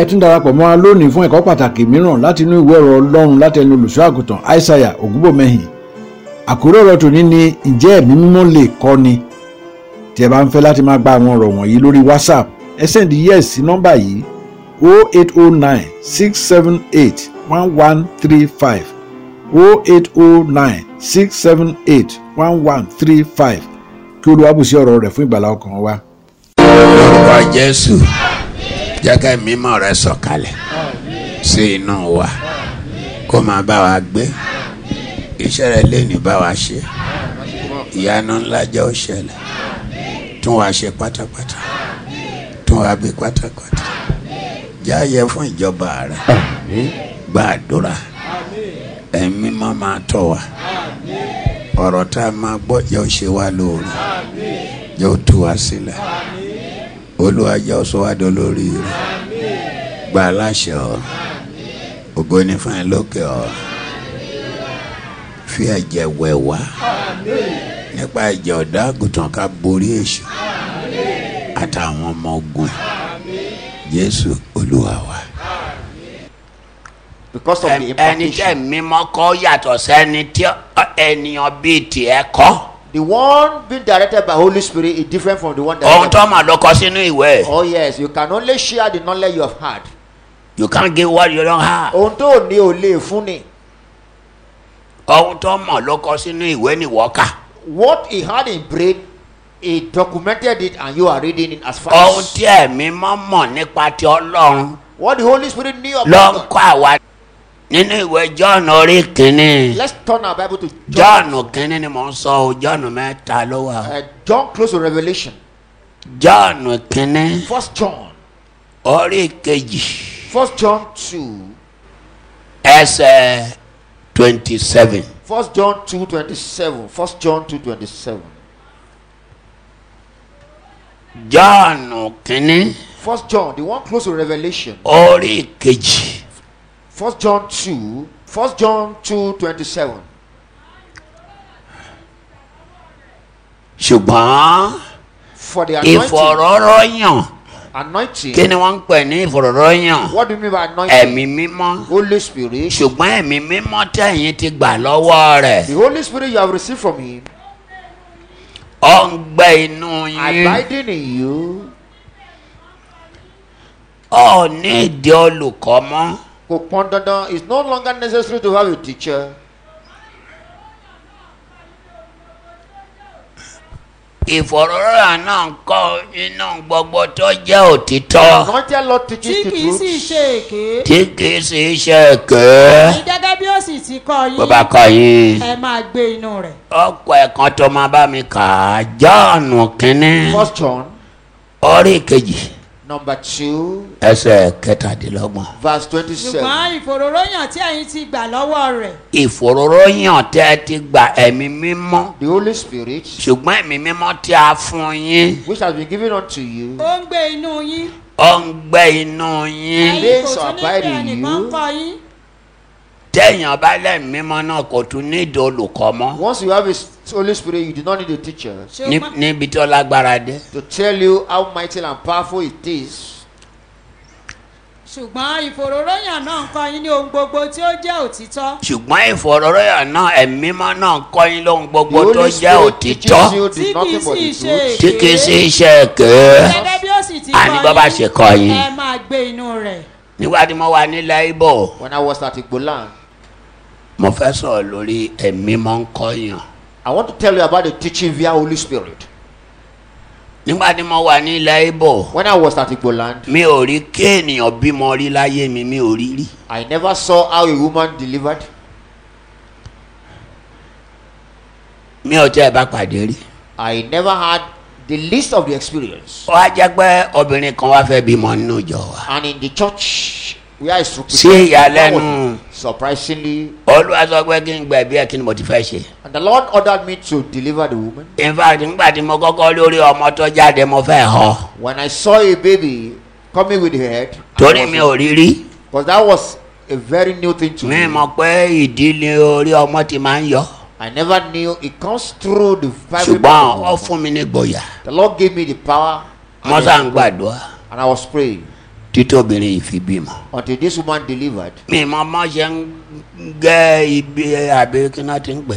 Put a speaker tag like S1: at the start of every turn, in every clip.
S1: ẹ tún darapọ̀ mọ́ wa lónìí fún ẹ̀kọ́ pàtàkì mìíràn láti inú ìwé ọ̀rọ̀ ọlọ́run láti ẹnu olùṣọ́ àgùntàn aishaiya ògúnbòmẹ́hìn àkórí ọ̀rọ̀ tòní ni ǹjẹ́ ẹ̀mí mímọ́ lè kọ́ni tí ẹ bá ń fẹ́ láti máa gba àwọn ọ̀rọ̀ wọ̀nyí lórí whatsapp ẹ sẹ́ndí yes sí nọ́mbà yìí 0809 678 1135 0809 678 1135 kí olúwa bùsí ọ̀rọ̀ rẹ̀ fún ìgbàlá ọkàn wa.
S2: lórúkọ jésù jẹ́ ká mímọ́ rẹ sọ̀kalẹ̀ sí inú wa kó máa bá wa gbé iṣẹ́ rẹ lẹ́nu bá wa ṣe ìyanu ńlá jẹ́ ó ṣẹlẹ̀ tún wa ṣe pátápátá tún wa bí pátápátá jáyẹ fún ìjọba rẹ gbàdúrà ẹ̀mí máa máa tọ̀ wá ọ̀rọ̀ tá a máa gbọ́ jẹ́ ó ṣe wá lóore jẹ́ ó tú wa sílẹ̀ olúwa jẹ́ ó sọ wá dán lórí rẹ gba aláṣẹ ọ ògo ní fún ẹ lókè ọ fi ẹ̀jẹ̀ wẹ̀ wá nípa ẹ̀jẹ̀ ọ̀dọ́ àgùntàn ká borí èṣù àtàwọn ọmọ ogun ẹ̀ jésù olúwa wa.
S3: because of the
S2: ẹni tẹ́
S3: impartation.
S2: mímọ́ kọ́ yàtọ̀ sẹ́ni tí ènìyàn bíi tiẹ̀ kọ́
S3: The one being directed by Holy Spirit is different from the one
S2: ohun
S3: directed.
S2: tó mà ló kọ sínú ìwé ẹ̀.
S3: Oh yes, you can only share the knowledge you have had.
S2: you can't give what you don't have.
S3: Ohun tó o ní o lè fún ni.
S2: ohun tó mọ̀ ló kọ sínú ìwé nìwọ́ kà.
S3: What he had in brain, he documented it and you are reading it as
S2: ohun
S3: facts.
S2: tí ẹ̀mí mọ́ mọ̀ nípa ti ọlọ́run
S3: What the Holy Spirit knew
S2: ló ń
S3: about God.
S2: kọ́ àwa nínú ìwé john orí kínní
S3: Let's turn our Bible to
S2: john
S3: John.
S2: kínní ni mò ń sọ o john mẹ́ta ló wà o.
S3: Uh, John close to Revelation.
S2: john kínní
S3: First John.
S2: orí kejì
S3: First John two.
S2: ẹsẹ̀ twenty seven
S3: First John two twenty seven. First John two twenty seven.
S2: john kínní
S3: First John, the one close to Revelation.
S2: orí kejì
S3: First John two. First John two twenty seven.
S2: ṣùgbọ́n
S3: For the anointing.
S2: ìfọ̀rọ̀rọ̀yàn kí
S3: Anointing.
S2: ni wọ́n ń pè ní ìfọ̀rọ̀rọ̀yàn
S3: What do you mean by
S2: ẹ̀mí
S3: anointing?
S2: mímọ́
S3: Holy Spirit.
S2: ṣùgbọ́n ẹ̀mí mímọ́ tẹ̀yìn ti gbà lọ́wọ́ rẹ̀.
S3: The Holy Spirit you have received from Him,
S2: ọ̀ngbẹ inú
S3: Mm.
S2: yín
S3: abiding in you,
S2: ọ̀ní ìdí olùkọ́ mọ́
S3: kò pọn dandan. It's no longer necessary to have a teacher.
S2: ìfọ̀rọ̀rọ̀ náà ń kọ́ inú gbogbo tó jẹ́ òtítọ́
S3: Anointed Lord
S4: tí
S3: teaches the
S4: kì í sì
S3: truth.
S4: ṣe èké
S2: tí kì í sì ṣe èké
S4: ẹ̀yin gẹ́gẹ́ bí ó sì ti kọ́
S2: bó bá
S4: yín
S2: kọ́ yín
S4: ẹ máa gbé inú rẹ̀.
S2: ọkọ̀ ẹ̀kan tó máa bá mi kà á jọ́ọ̀nù kínní
S3: First John
S2: orí kejì
S3: number two
S2: ẹsẹ̀ kẹtàdínlọ́gbọ̀n
S3: verse twenty seven.
S4: ṣùgbọ́n ìfòròróyàn tí ẹ̀yin ti gbà lọ́wọ́ rẹ̀
S2: ìfọ̀rọ̀rọ̀yàn tẹ́ ẹ ti gba ẹ̀mí mímọ́
S3: The Holy Spirit,
S2: ṣùgbọ́n ẹ̀mí mímọ́ tí a fún yín
S3: which has been given unto you,
S4: ó ń gbé inú yín
S2: ọ̀ngbẹ inú yín.
S4: ẹ̀yin
S3: Grace
S4: kò tún ní pé
S3: abiding in
S4: ẹnìkan ń
S3: you.
S4: kọ́ yín
S2: téèyàn bá lẹ́mìí mímọ́ náà kò tún ní ìdí olùkọ́ mọ́
S3: once you have his Holy Spirit, you do not need a teacher
S2: Ní-
S4: ṣùgbọ́n
S2: níbi tó lágbára dé.
S3: to tell you how mighty and powerful it is.
S4: ṣùgbọ́n ìfòròróyàn náà ń kọ́ yín ní ohun gbogbo tí ó jẹ́ òtítọ́
S2: ṣùgbọ́n ìfọ̀rọ̀rọ̀yàn náà ẹ̀mí mímọ́ náà ń kọ́ yín lóhun
S3: The
S2: gbogbo tó
S3: Holy
S2: jẹ́
S3: Spirit
S2: òtítọ́
S3: teaches you the
S4: Tí kì í
S3: nothing but
S4: sì
S3: the
S4: ṣe
S3: truth.
S2: tí kì í ṣe iṣẹ́ èké
S4: gẹ́gẹ́ bí ó sì ti
S2: àní bọ́ bá
S4: kọ́
S2: ṣe kọ́
S4: yín
S2: yín.
S4: ẹ máa gbé inú rẹ̀.
S2: nígbà tí mo wà nílẹ̀ ibo
S3: When I was at Igboland,
S2: mo fẹ́ sọ̀rọ̀ lórí ẹ̀mí mímọ́ ń kọ́ yàn.
S3: I want to tell you about the teaching via Holy Spirit.
S2: nígbà tí mo wà nílẹ̀ ibo
S3: When I was at Igboland,
S2: mi ò rí kí ènìyàn bímọ rí láyé mi mi ò rí rí.
S3: I never saw how a woman delivered.
S2: mi ò tẹ́ ẹ bá pàdé rí.
S3: I never had the least of the experience.
S2: ó wá jẹ́ pé obìnrin kan wá fẹ́ bímọ nínú ìjọ wa.
S3: And in the church, we are instructed.
S2: Sí ìyàlẹ́nu.
S3: Surprisingly,
S2: olúwa sọ pé kí n gbẹ̀bí ẹ kí ni mo ti fẹ́ ṣe.
S3: and the Lord ordered me to deliver the woman.
S2: in fact nígbà tí mo kọ́kọ́ lórí ọmọ tó jáde mo fẹ́ họ
S3: When I saw a baby coming with the head,
S2: torí mi ò rí rí
S3: because that was a very new thing to
S2: mi
S3: me.
S2: mọ̀ pé ìdílé orí ọmọ ti máa ń yọ
S3: I never knew it comes through the Bible.
S2: ṣùgbọ́n ó fún mi ní gboyà
S3: The Lord gave me the power,
S2: mo sá ń gbàdúrà
S3: and I was praying.
S2: tí títí obìnrin yìí fi bímọ.
S3: until this woman delivered.
S2: mi mọ ọmọ ṣe ń gẹ ibi àbí kí náà ti ń pè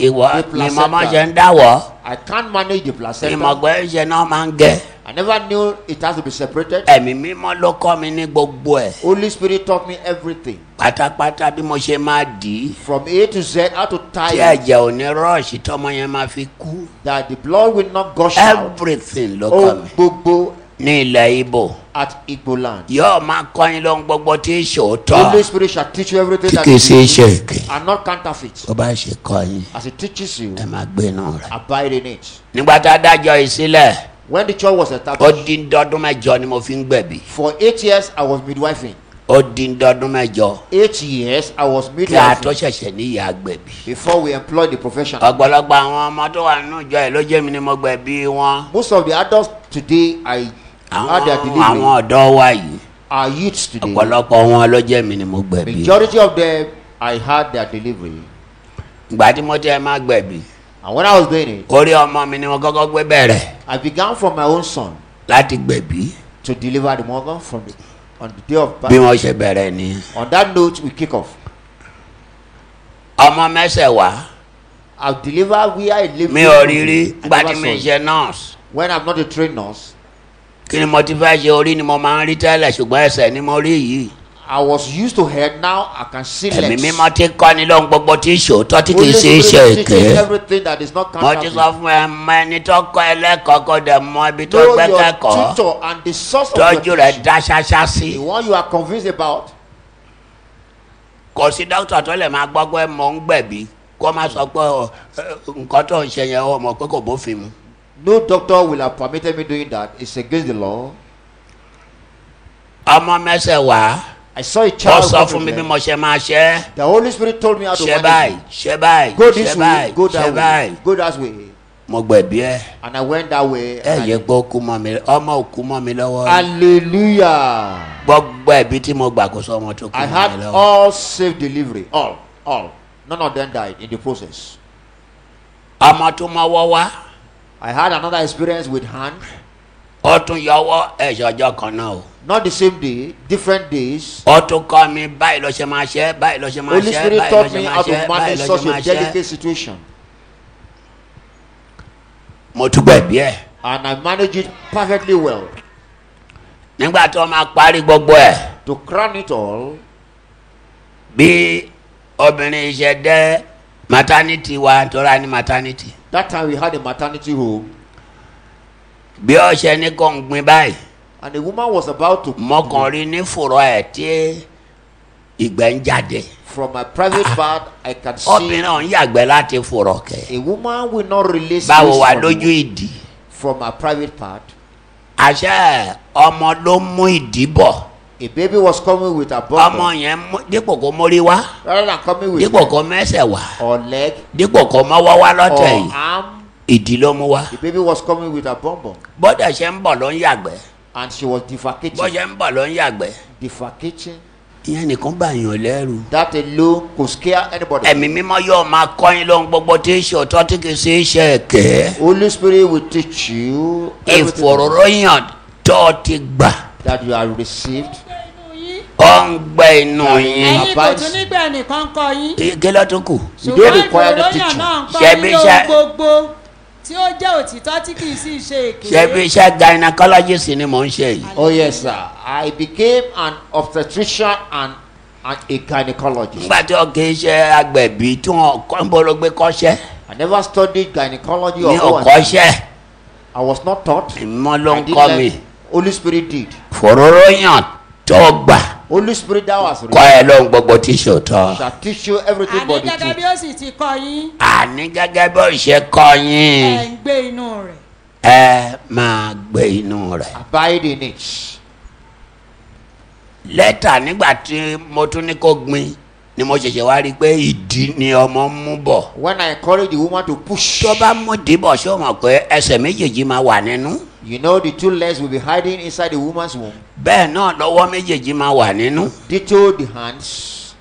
S2: ìwọ
S3: The
S2: mi mọ ọmọ
S3: placenta.
S2: ṣe ń dáwọ
S3: I can't manage the
S2: mi mọ
S3: placenta.
S2: ọgbẹ ṣe náà máa ń gẹ
S3: I never knew it has to be separated.
S2: ẹmí mímọ ló kọ mi ní gbogbo ẹ
S3: Holy Spirit taught me everything
S2: pátápátá bí mo ṣe máa dì í
S3: from A to Z how to tie
S2: tí
S3: it,
S2: ẹ̀jẹ̀ ò ní rọ́ọ̀ṣì tọmọ yẹn máa fi kú
S3: that the blood will not gush out.
S2: everything ló kọ
S3: Oh,
S2: mi
S3: Gbogbo
S2: ní ilẹ̀ ibo
S3: at Igbo land.
S2: yóò máa kọyin lóhun gbogbo tí í ṣòótọ́
S3: Holy Spirit shall teach you everything
S2: tí
S3: that
S2: kì í
S3: is
S2: ṣe
S3: in
S2: é ṣe
S3: you
S2: èké
S3: and not counterfeit.
S2: tó bá ṣe kọyin
S3: As He teaches you,
S2: ẹ máa gbé inú rẹ.
S3: abide in it.
S2: nígbà tá a dájọ́ yìí sílẹ̀
S3: When the church was
S2: ó
S3: established,
S2: dín dọ́dún mẹ́jọ ni mo fi ń gbẹ̀bí
S3: for eight years I was midwifing.
S2: ó dín dọ́dún mẹ́jọ
S3: Eight years I was
S2: kí a tó
S3: midwifing
S2: ṣẹ̀ṣẹ̀ níyà gbẹ̀bí.
S3: before we employed the profession.
S2: ọ̀pọ̀lọpọ̀ àwọn ọmọ tó wà nínú ìjọ yìí ló jẹ́ mi ni mo gbẹ̀bí wọn.
S3: Most of the adults today I had their
S2: àwọn àwọn
S3: delivery
S2: ọ̀dọ́ wa yìí
S3: are youths today.
S2: ọ̀pọ̀lọpọ̀ wọn ló jẹ́ mi ni mo gbẹ̀bí.
S3: Majority of them I had their delivery.
S2: ìgbà tí mo tẹ́ máa gbẹ̀bí
S3: And when I was doing it,
S2: orí ọmọ mi ni mo kọ́kọ́ gbé bẹ̀rẹ̀
S3: I began from my own son
S2: láti gbẹ̀bí
S3: to deliver the mother from the, on the day of
S2: bí
S3: birth.
S2: wọ́n ṣe bẹ̀rẹ̀ ni.
S3: On that note, we kick off.
S2: ọmọ mẹ́sẹ̀ wá
S3: I've delivered where I live.
S2: mi ò rí rí nígbà
S3: I
S2: tí
S3: never
S2: mi ń
S3: saw
S2: ṣe
S3: it.
S2: nọ́ọ̀sì
S3: When I'm not a trained nurse,
S2: kí ni mo ti fẹ́ ṣe orí ni mo máa ń rí tẹ́lẹ̀ ṣùgbọ́n ẹsẹ̀ ni mo rí yìí.
S3: I was used to head. Now I can see
S2: ẹ̀mí
S3: legs.
S2: mímọ́ ti kọ́ ni lóhun gbogbo tí ì ṣòótọ́ tí kì í ṣe é ṣe èké.
S3: teaches everything that is not
S2: mo ti sọ
S3: counterfeit.
S2: fún ẹ mọ ẹni tó kọ́ ẹlẹ́kọ̀ọ́ kó dẹ̀ mọ ibi tó
S3: Know
S2: gbé
S3: your
S2: kẹ́kọ̀ọ́
S3: tutor and the source of
S2: tọ́jú
S3: your
S2: rẹ̀
S3: teaching.
S2: dá ṣáṣá sí.
S3: The one you are convinced about.
S2: kò sí dókítà tó lè máa gbọ́ pé mò ń gbẹ̀bí kó má sọ pé ọ, ẹ, nǹkan tó ń ṣe yẹn ó mọ̀ pé kò bófin mu.
S3: No doctor will have permitted me doing that. It's against the law.
S2: ọmọ mẹ́sẹ̀ wá
S3: I saw a
S2: ó
S3: child.
S2: sọ
S3: come
S2: fún mi
S3: with
S2: bí
S3: me.
S2: mo ṣe máa ṣe é.
S3: The Holy Spirit told me how to
S2: ṣe
S3: manage
S2: báyìí
S3: it.
S2: ṣe báyìí
S3: Go
S2: ṣe
S3: this way,
S2: báyìí
S3: go
S2: ṣe
S3: that
S2: báyìí
S3: way, go that way.
S2: mo gbẹ̀bí ẹ
S3: And I went that way.
S2: ẹ
S3: and I-
S2: yẹ pé ó kú mọ́ mi ọmọ ò kú mọ́ mi lọ́wọ́.
S3: Hallelujah.
S2: gbogbo ẹbí tí mo gbà kó sọ ọmọ tó kú
S3: I
S2: mọ mi
S3: had
S2: lọ.
S3: all safe delivery. All, all. None of them died in the process.
S2: ọmọ tó mọwọ́ wá
S3: I had another experience with hand.
S2: ó tún yọwọ́ ẹ̀ṣẹ̀ ọjọ́ kan náà o.
S3: Not the same day, different days.
S2: ó tún kọ́ mi báyìí ló ṣe máa ṣe báyìí ló ṣe máa
S3: Holy
S2: ṣe
S3: Spirit
S2: báyìí ló
S3: taught
S2: ṣe
S3: me
S2: máa
S3: how to
S2: ṣe báyìí
S3: manage
S2: ló
S3: such
S2: ṣe máa
S3: a
S2: ṣe.
S3: delicate situation.
S2: mo tún gbẹ̀bí ẹ̀
S3: And I managed it perfectly well.
S2: nígbà tó máa parí gbogbo ẹ̀
S3: To crown it all,
S2: bí obìnrin iṣẹ́ dẹ́ maternity wa tóra ní maternity
S3: that time we had a maternity home,
S2: bí ó ṣe ní kò ń gbin báyìí
S3: and the woman was about to
S2: mọkànrin ní fùrọ̀ ẹ̀ tí ìgbẹ́ ń jáde
S3: From my private part, I can see
S2: obìnrin ò ń yàgbẹ́ láti fùrọ̀ kẹ̀
S3: a woman will not release
S2: báwo
S3: waste
S2: wà
S3: from-
S2: lójú ìdí.
S3: from my private part.
S2: àṣẹ ọmọ ló mú ìdìbò
S3: A baby was coming with a bottle
S2: ọmọ yẹn mú- dípò kó mórí wá
S3: rather than coming with
S2: dípò kó mẹsẹ wá
S3: or leg
S2: dípò kó mọwọ wá
S3: or
S2: lọtẹ yìí
S3: arm.
S2: ìdí ló mú wá
S3: The baby was coming with a bonbon
S2: bọ́dà ṣe ń bọ̀ ló ń yàgbẹ́
S3: and she was defecating.
S2: bọ́dà ṣe ń bọ̀ ló ń yàgbẹ́
S3: Defecating.
S2: ìyẹn nìkan bá yàn lẹ́rù.
S3: That alone could scare anybody.
S2: ẹ̀mí mímọ́ yóò máa kọ́yìn lóhun gbogbo tí í ṣe ọ̀tọ́ tí kì í ṣe é ṣe ẹ̀kẹ́
S3: Holy Spirit will teach you everything
S2: ìfòròróyàn tó o ti gbà
S3: that you have received.
S2: ó ń gbẹ inú yín
S4: ẹ̀yin kò tún nígbà ẹnìkan kọ yín
S2: kí ló tún kù
S4: ṣùgbọ́n
S3: require the
S4: ìfòròyìn
S3: teaching.
S4: náà ń kọ́
S2: Ṣebí
S4: yín
S2: ṣe-
S4: ohun gbogbo tí ó jẹ́ òtítọ́ tí kì í sì ṣe èké.
S2: ṣe bí iṣẹ́ gynecologist ni mò ń ṣe yìí.
S3: Oh yes, sir. I became an obstetrician and, and a gynecologist.
S2: nígbà tí wọn kì í ṣe agbẹ̀bí tí wọn kọ́ ń bolo gbé kọ́ṣẹ́
S3: I never studied gynecology
S2: ní
S3: or O&E.
S2: ọ̀kọ́ṣẹ́
S3: I was not taught.
S2: ìmọ̀ ló
S3: I
S2: ń
S3: did
S2: kọ́
S3: like
S2: mi
S3: Holy Spirit did.
S2: fòróróyàn tó gbà
S3: Holy Spirit that was
S2: kọ́
S3: real
S2: ẹ lóhun gbogbo tí ṣòótọ́
S3: shall teach you everything
S4: àní
S3: but the
S4: gẹ́gẹ́ bí
S3: truth.
S4: ó sì ti kọ yín
S2: àní gẹ́gẹ́ bó ṣe kọ́ yín
S4: ẹ̀ ń gbé inú rẹ̀.
S2: ẹ máa gbé inú rẹ̀.
S3: Abide in it.
S2: lẹ́tà nígbà tí mo tún ní kó gbin ni mo ṣẹ̀ṣẹ̀ wá rí i pé ìdí ni ọmọ ń mú bọ̀
S3: When I encourage the woman to push,
S2: tó bá mú dìbò ṣé o mọ̀ pé ẹsẹ̀ méjèèjì máa wà nínú
S3: you know the two legs will be hiding inside the woman's womb.
S2: bẹ́ẹ̀ náà lọ́wọ́ méjèèjì máa wà nínú
S3: Ditto the hands.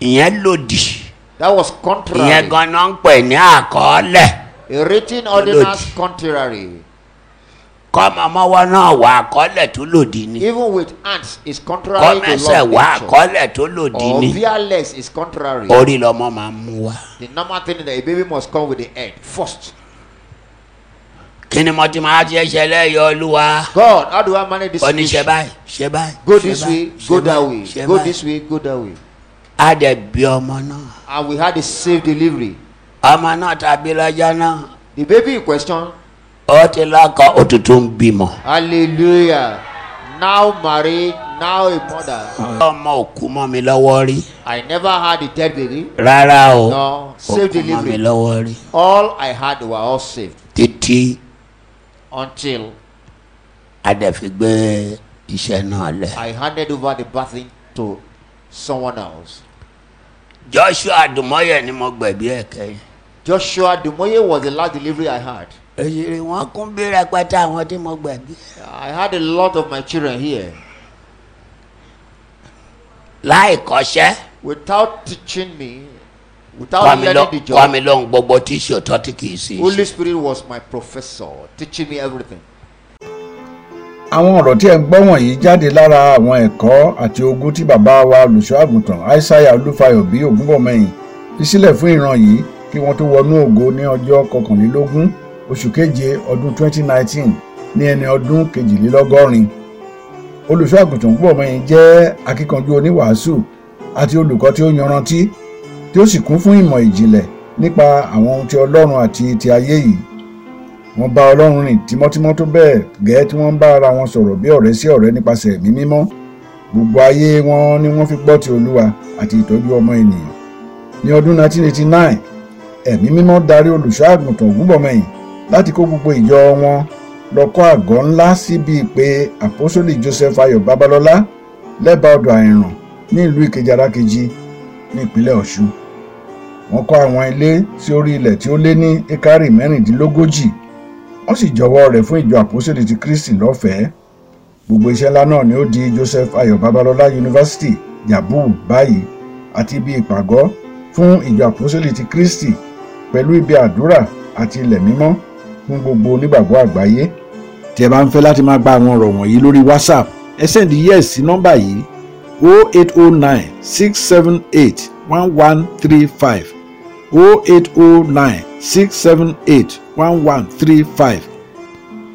S2: ìyẹn lòdì.
S3: That was contrary.
S2: ìyẹn ganan ń pè ní àkọọ́lẹ̀
S3: A written ordinance contrary.
S2: kọ́ mọ́mọ́wọ́ náà wà àkọọ́lẹ̀ tó lòdì ni
S3: Even with ants is
S2: kọ́
S3: contrary to
S2: mẹ́sẹ̀
S3: law of
S2: wà
S3: nature.
S2: àkọọ́lẹ̀ tó lòdì
S3: Or
S2: ni
S3: fearless is contrary.
S2: orí lọ́mọ máa mú wa.
S3: The normal thing is that a baby must come with the head first.
S2: kí ni mo ti máa ṣe ṣẹlẹ̀ yọ olúwa
S3: God, how do I manage this?
S2: ó ní ṣe
S3: issue?
S2: báyìí ṣe báyìí
S3: Go
S2: ṣe
S3: this
S2: báyìí,
S3: way,
S2: ṣe
S3: go that
S2: báyìí,
S3: way,
S2: ṣe
S3: go
S2: báyìí.
S3: this way, go that way.
S2: á dẹ̀ bí ọmọ náà
S3: And we had a safe delivery.
S2: ọmọ náà tàbí lọ́jọ́ náà
S3: The baby in question,
S2: ó ti lọ́kọ òtútù ń bímọ.
S3: hallelujah, now married, now a mother.
S2: ọmọ òkú mọ́ mi lọ́wọ́ rí
S3: I never had a dead baby.
S2: rárá o
S3: No, safe
S2: òkú mọ́ mi
S3: delivery.
S2: lọ́wọ́ rí
S3: All I had were all saved
S2: títí
S3: until
S2: adẹ̀figbé iṣẹ́ náà lẹ̀.
S3: I handed over the bathing to someone else.
S2: joshua adùmọ̀yẹ ni mo gbẹ̀bí ẹ̀ kẹ́yìn.
S3: Joshua Dumoye was the last delivery I had.
S2: èyí wọn kún bí rẹpẹtẹ àwọn tí mo gbẹ̀bí.
S3: I had a lot of my children here.
S2: láì kọ́ṣẹ́
S3: Without teaching me,
S2: kọ́
S3: without
S2: mi lọ-
S3: learning the
S2: kọ́
S3: job,
S2: mi lóhun gbogbo tí ìṣòtọ́ tí kì í sí i ṣe.
S3: Holy Spirit was my professor, teaching me everything.
S1: àwọn ọ̀rọ̀ tí ẹ̀ ń gbọ́ wọ̀nyí jáde lára àwọn ẹ̀kọ́ àti ogún tí bàbá wa olùṣọ́àgùntàn aishaiya olúfayọ bí ògúnbọ̀mọyìn fi sílẹ̀ fún ìran yìí kí wọ́n tó wọnú ògo ní ọjọ́ kọkànlélógún oṣù keje ọdún 2019 ní ẹni ọdún kejìlélọ́gọ́rin olùṣọ́àgùntàn ògúnbọ̀mọyìn jẹ́ akíkanjú oníwàásù àti olùkọ́ tí ó yanrantí tí ó sì kún fún ìmọ̀ ìjìnlẹ̀ nípa àwọn ohun ti ọlọ́run àti ti ayé yìí wọ́n bá ọlọ́run rìn tímọ́tímọ́ tó bẹ́ẹ̀ gẹ́ẹ́ tí wọ́n ń bá ara wọn sọ̀rọ̀ bí ọ̀rẹ́ sí ọ̀rẹ́ nípasẹ̀ ẹ̀mí mímọ́ gbogbo ayé wọn ni wọ́n fi gbọ́ ti olúwa àti ìtọ́jú ọmọ ènìyàn ní ọdún 1989 ẹ̀mí mímọ́ darí olùṣọ́ àgùntàn ògúnbọ̀mọyìn láti kó gbogbo ìjọ wọn lọ kọ́ àgọ́ ńlá síbi pé àpọ́sólì joseph ayọ̀ babalọ́lá lẹ́bàá ọdọ̀ àìràn ní ìlú ìkejì arákejì ní ìpínlẹ̀ ọ̀ṣun wọ́n kọ́ àwọn ilé sí orí ilẹ̀ tí ó lé ní ekari mẹ́rìndínlógójì wọ́n sì jọwọ́ rẹ̀ fún ìjọ àpòsílẹ̀ ti kristi lọ́fẹ̀ẹ́ gbogbo iṣẹ́ ńlá náà ni ó di joseph ayọ̀ babalọ́lá yunifásitì yabu báyìí àti ibi ìpàgọ́ fún ìjọ àpòsílẹ̀ ti kristi pẹ̀lú ibi àdúrà àti ilẹ̀ mímọ́ fún gbogbo onígbàgbọ́ àgbáyé. tí ẹ bá ń fẹ́ láti máa gba àwọn ọ̀rọ̀ wọ̀nyí lórí whatsapp ẹ sẹ́ndí yes sí nọ́mbà yìí 0809 678 1135 08096781135.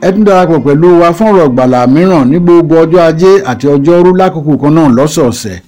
S1: ẹ tún darapọ̀ pẹ̀lú wa fún ọ̀rọ̀ ìgbàlà mìíràn ní gbogbo ọjọ́ ajé àti ọjọ́ rú lákòókò kan náà lọ́sọ̀ọ̀sẹ̀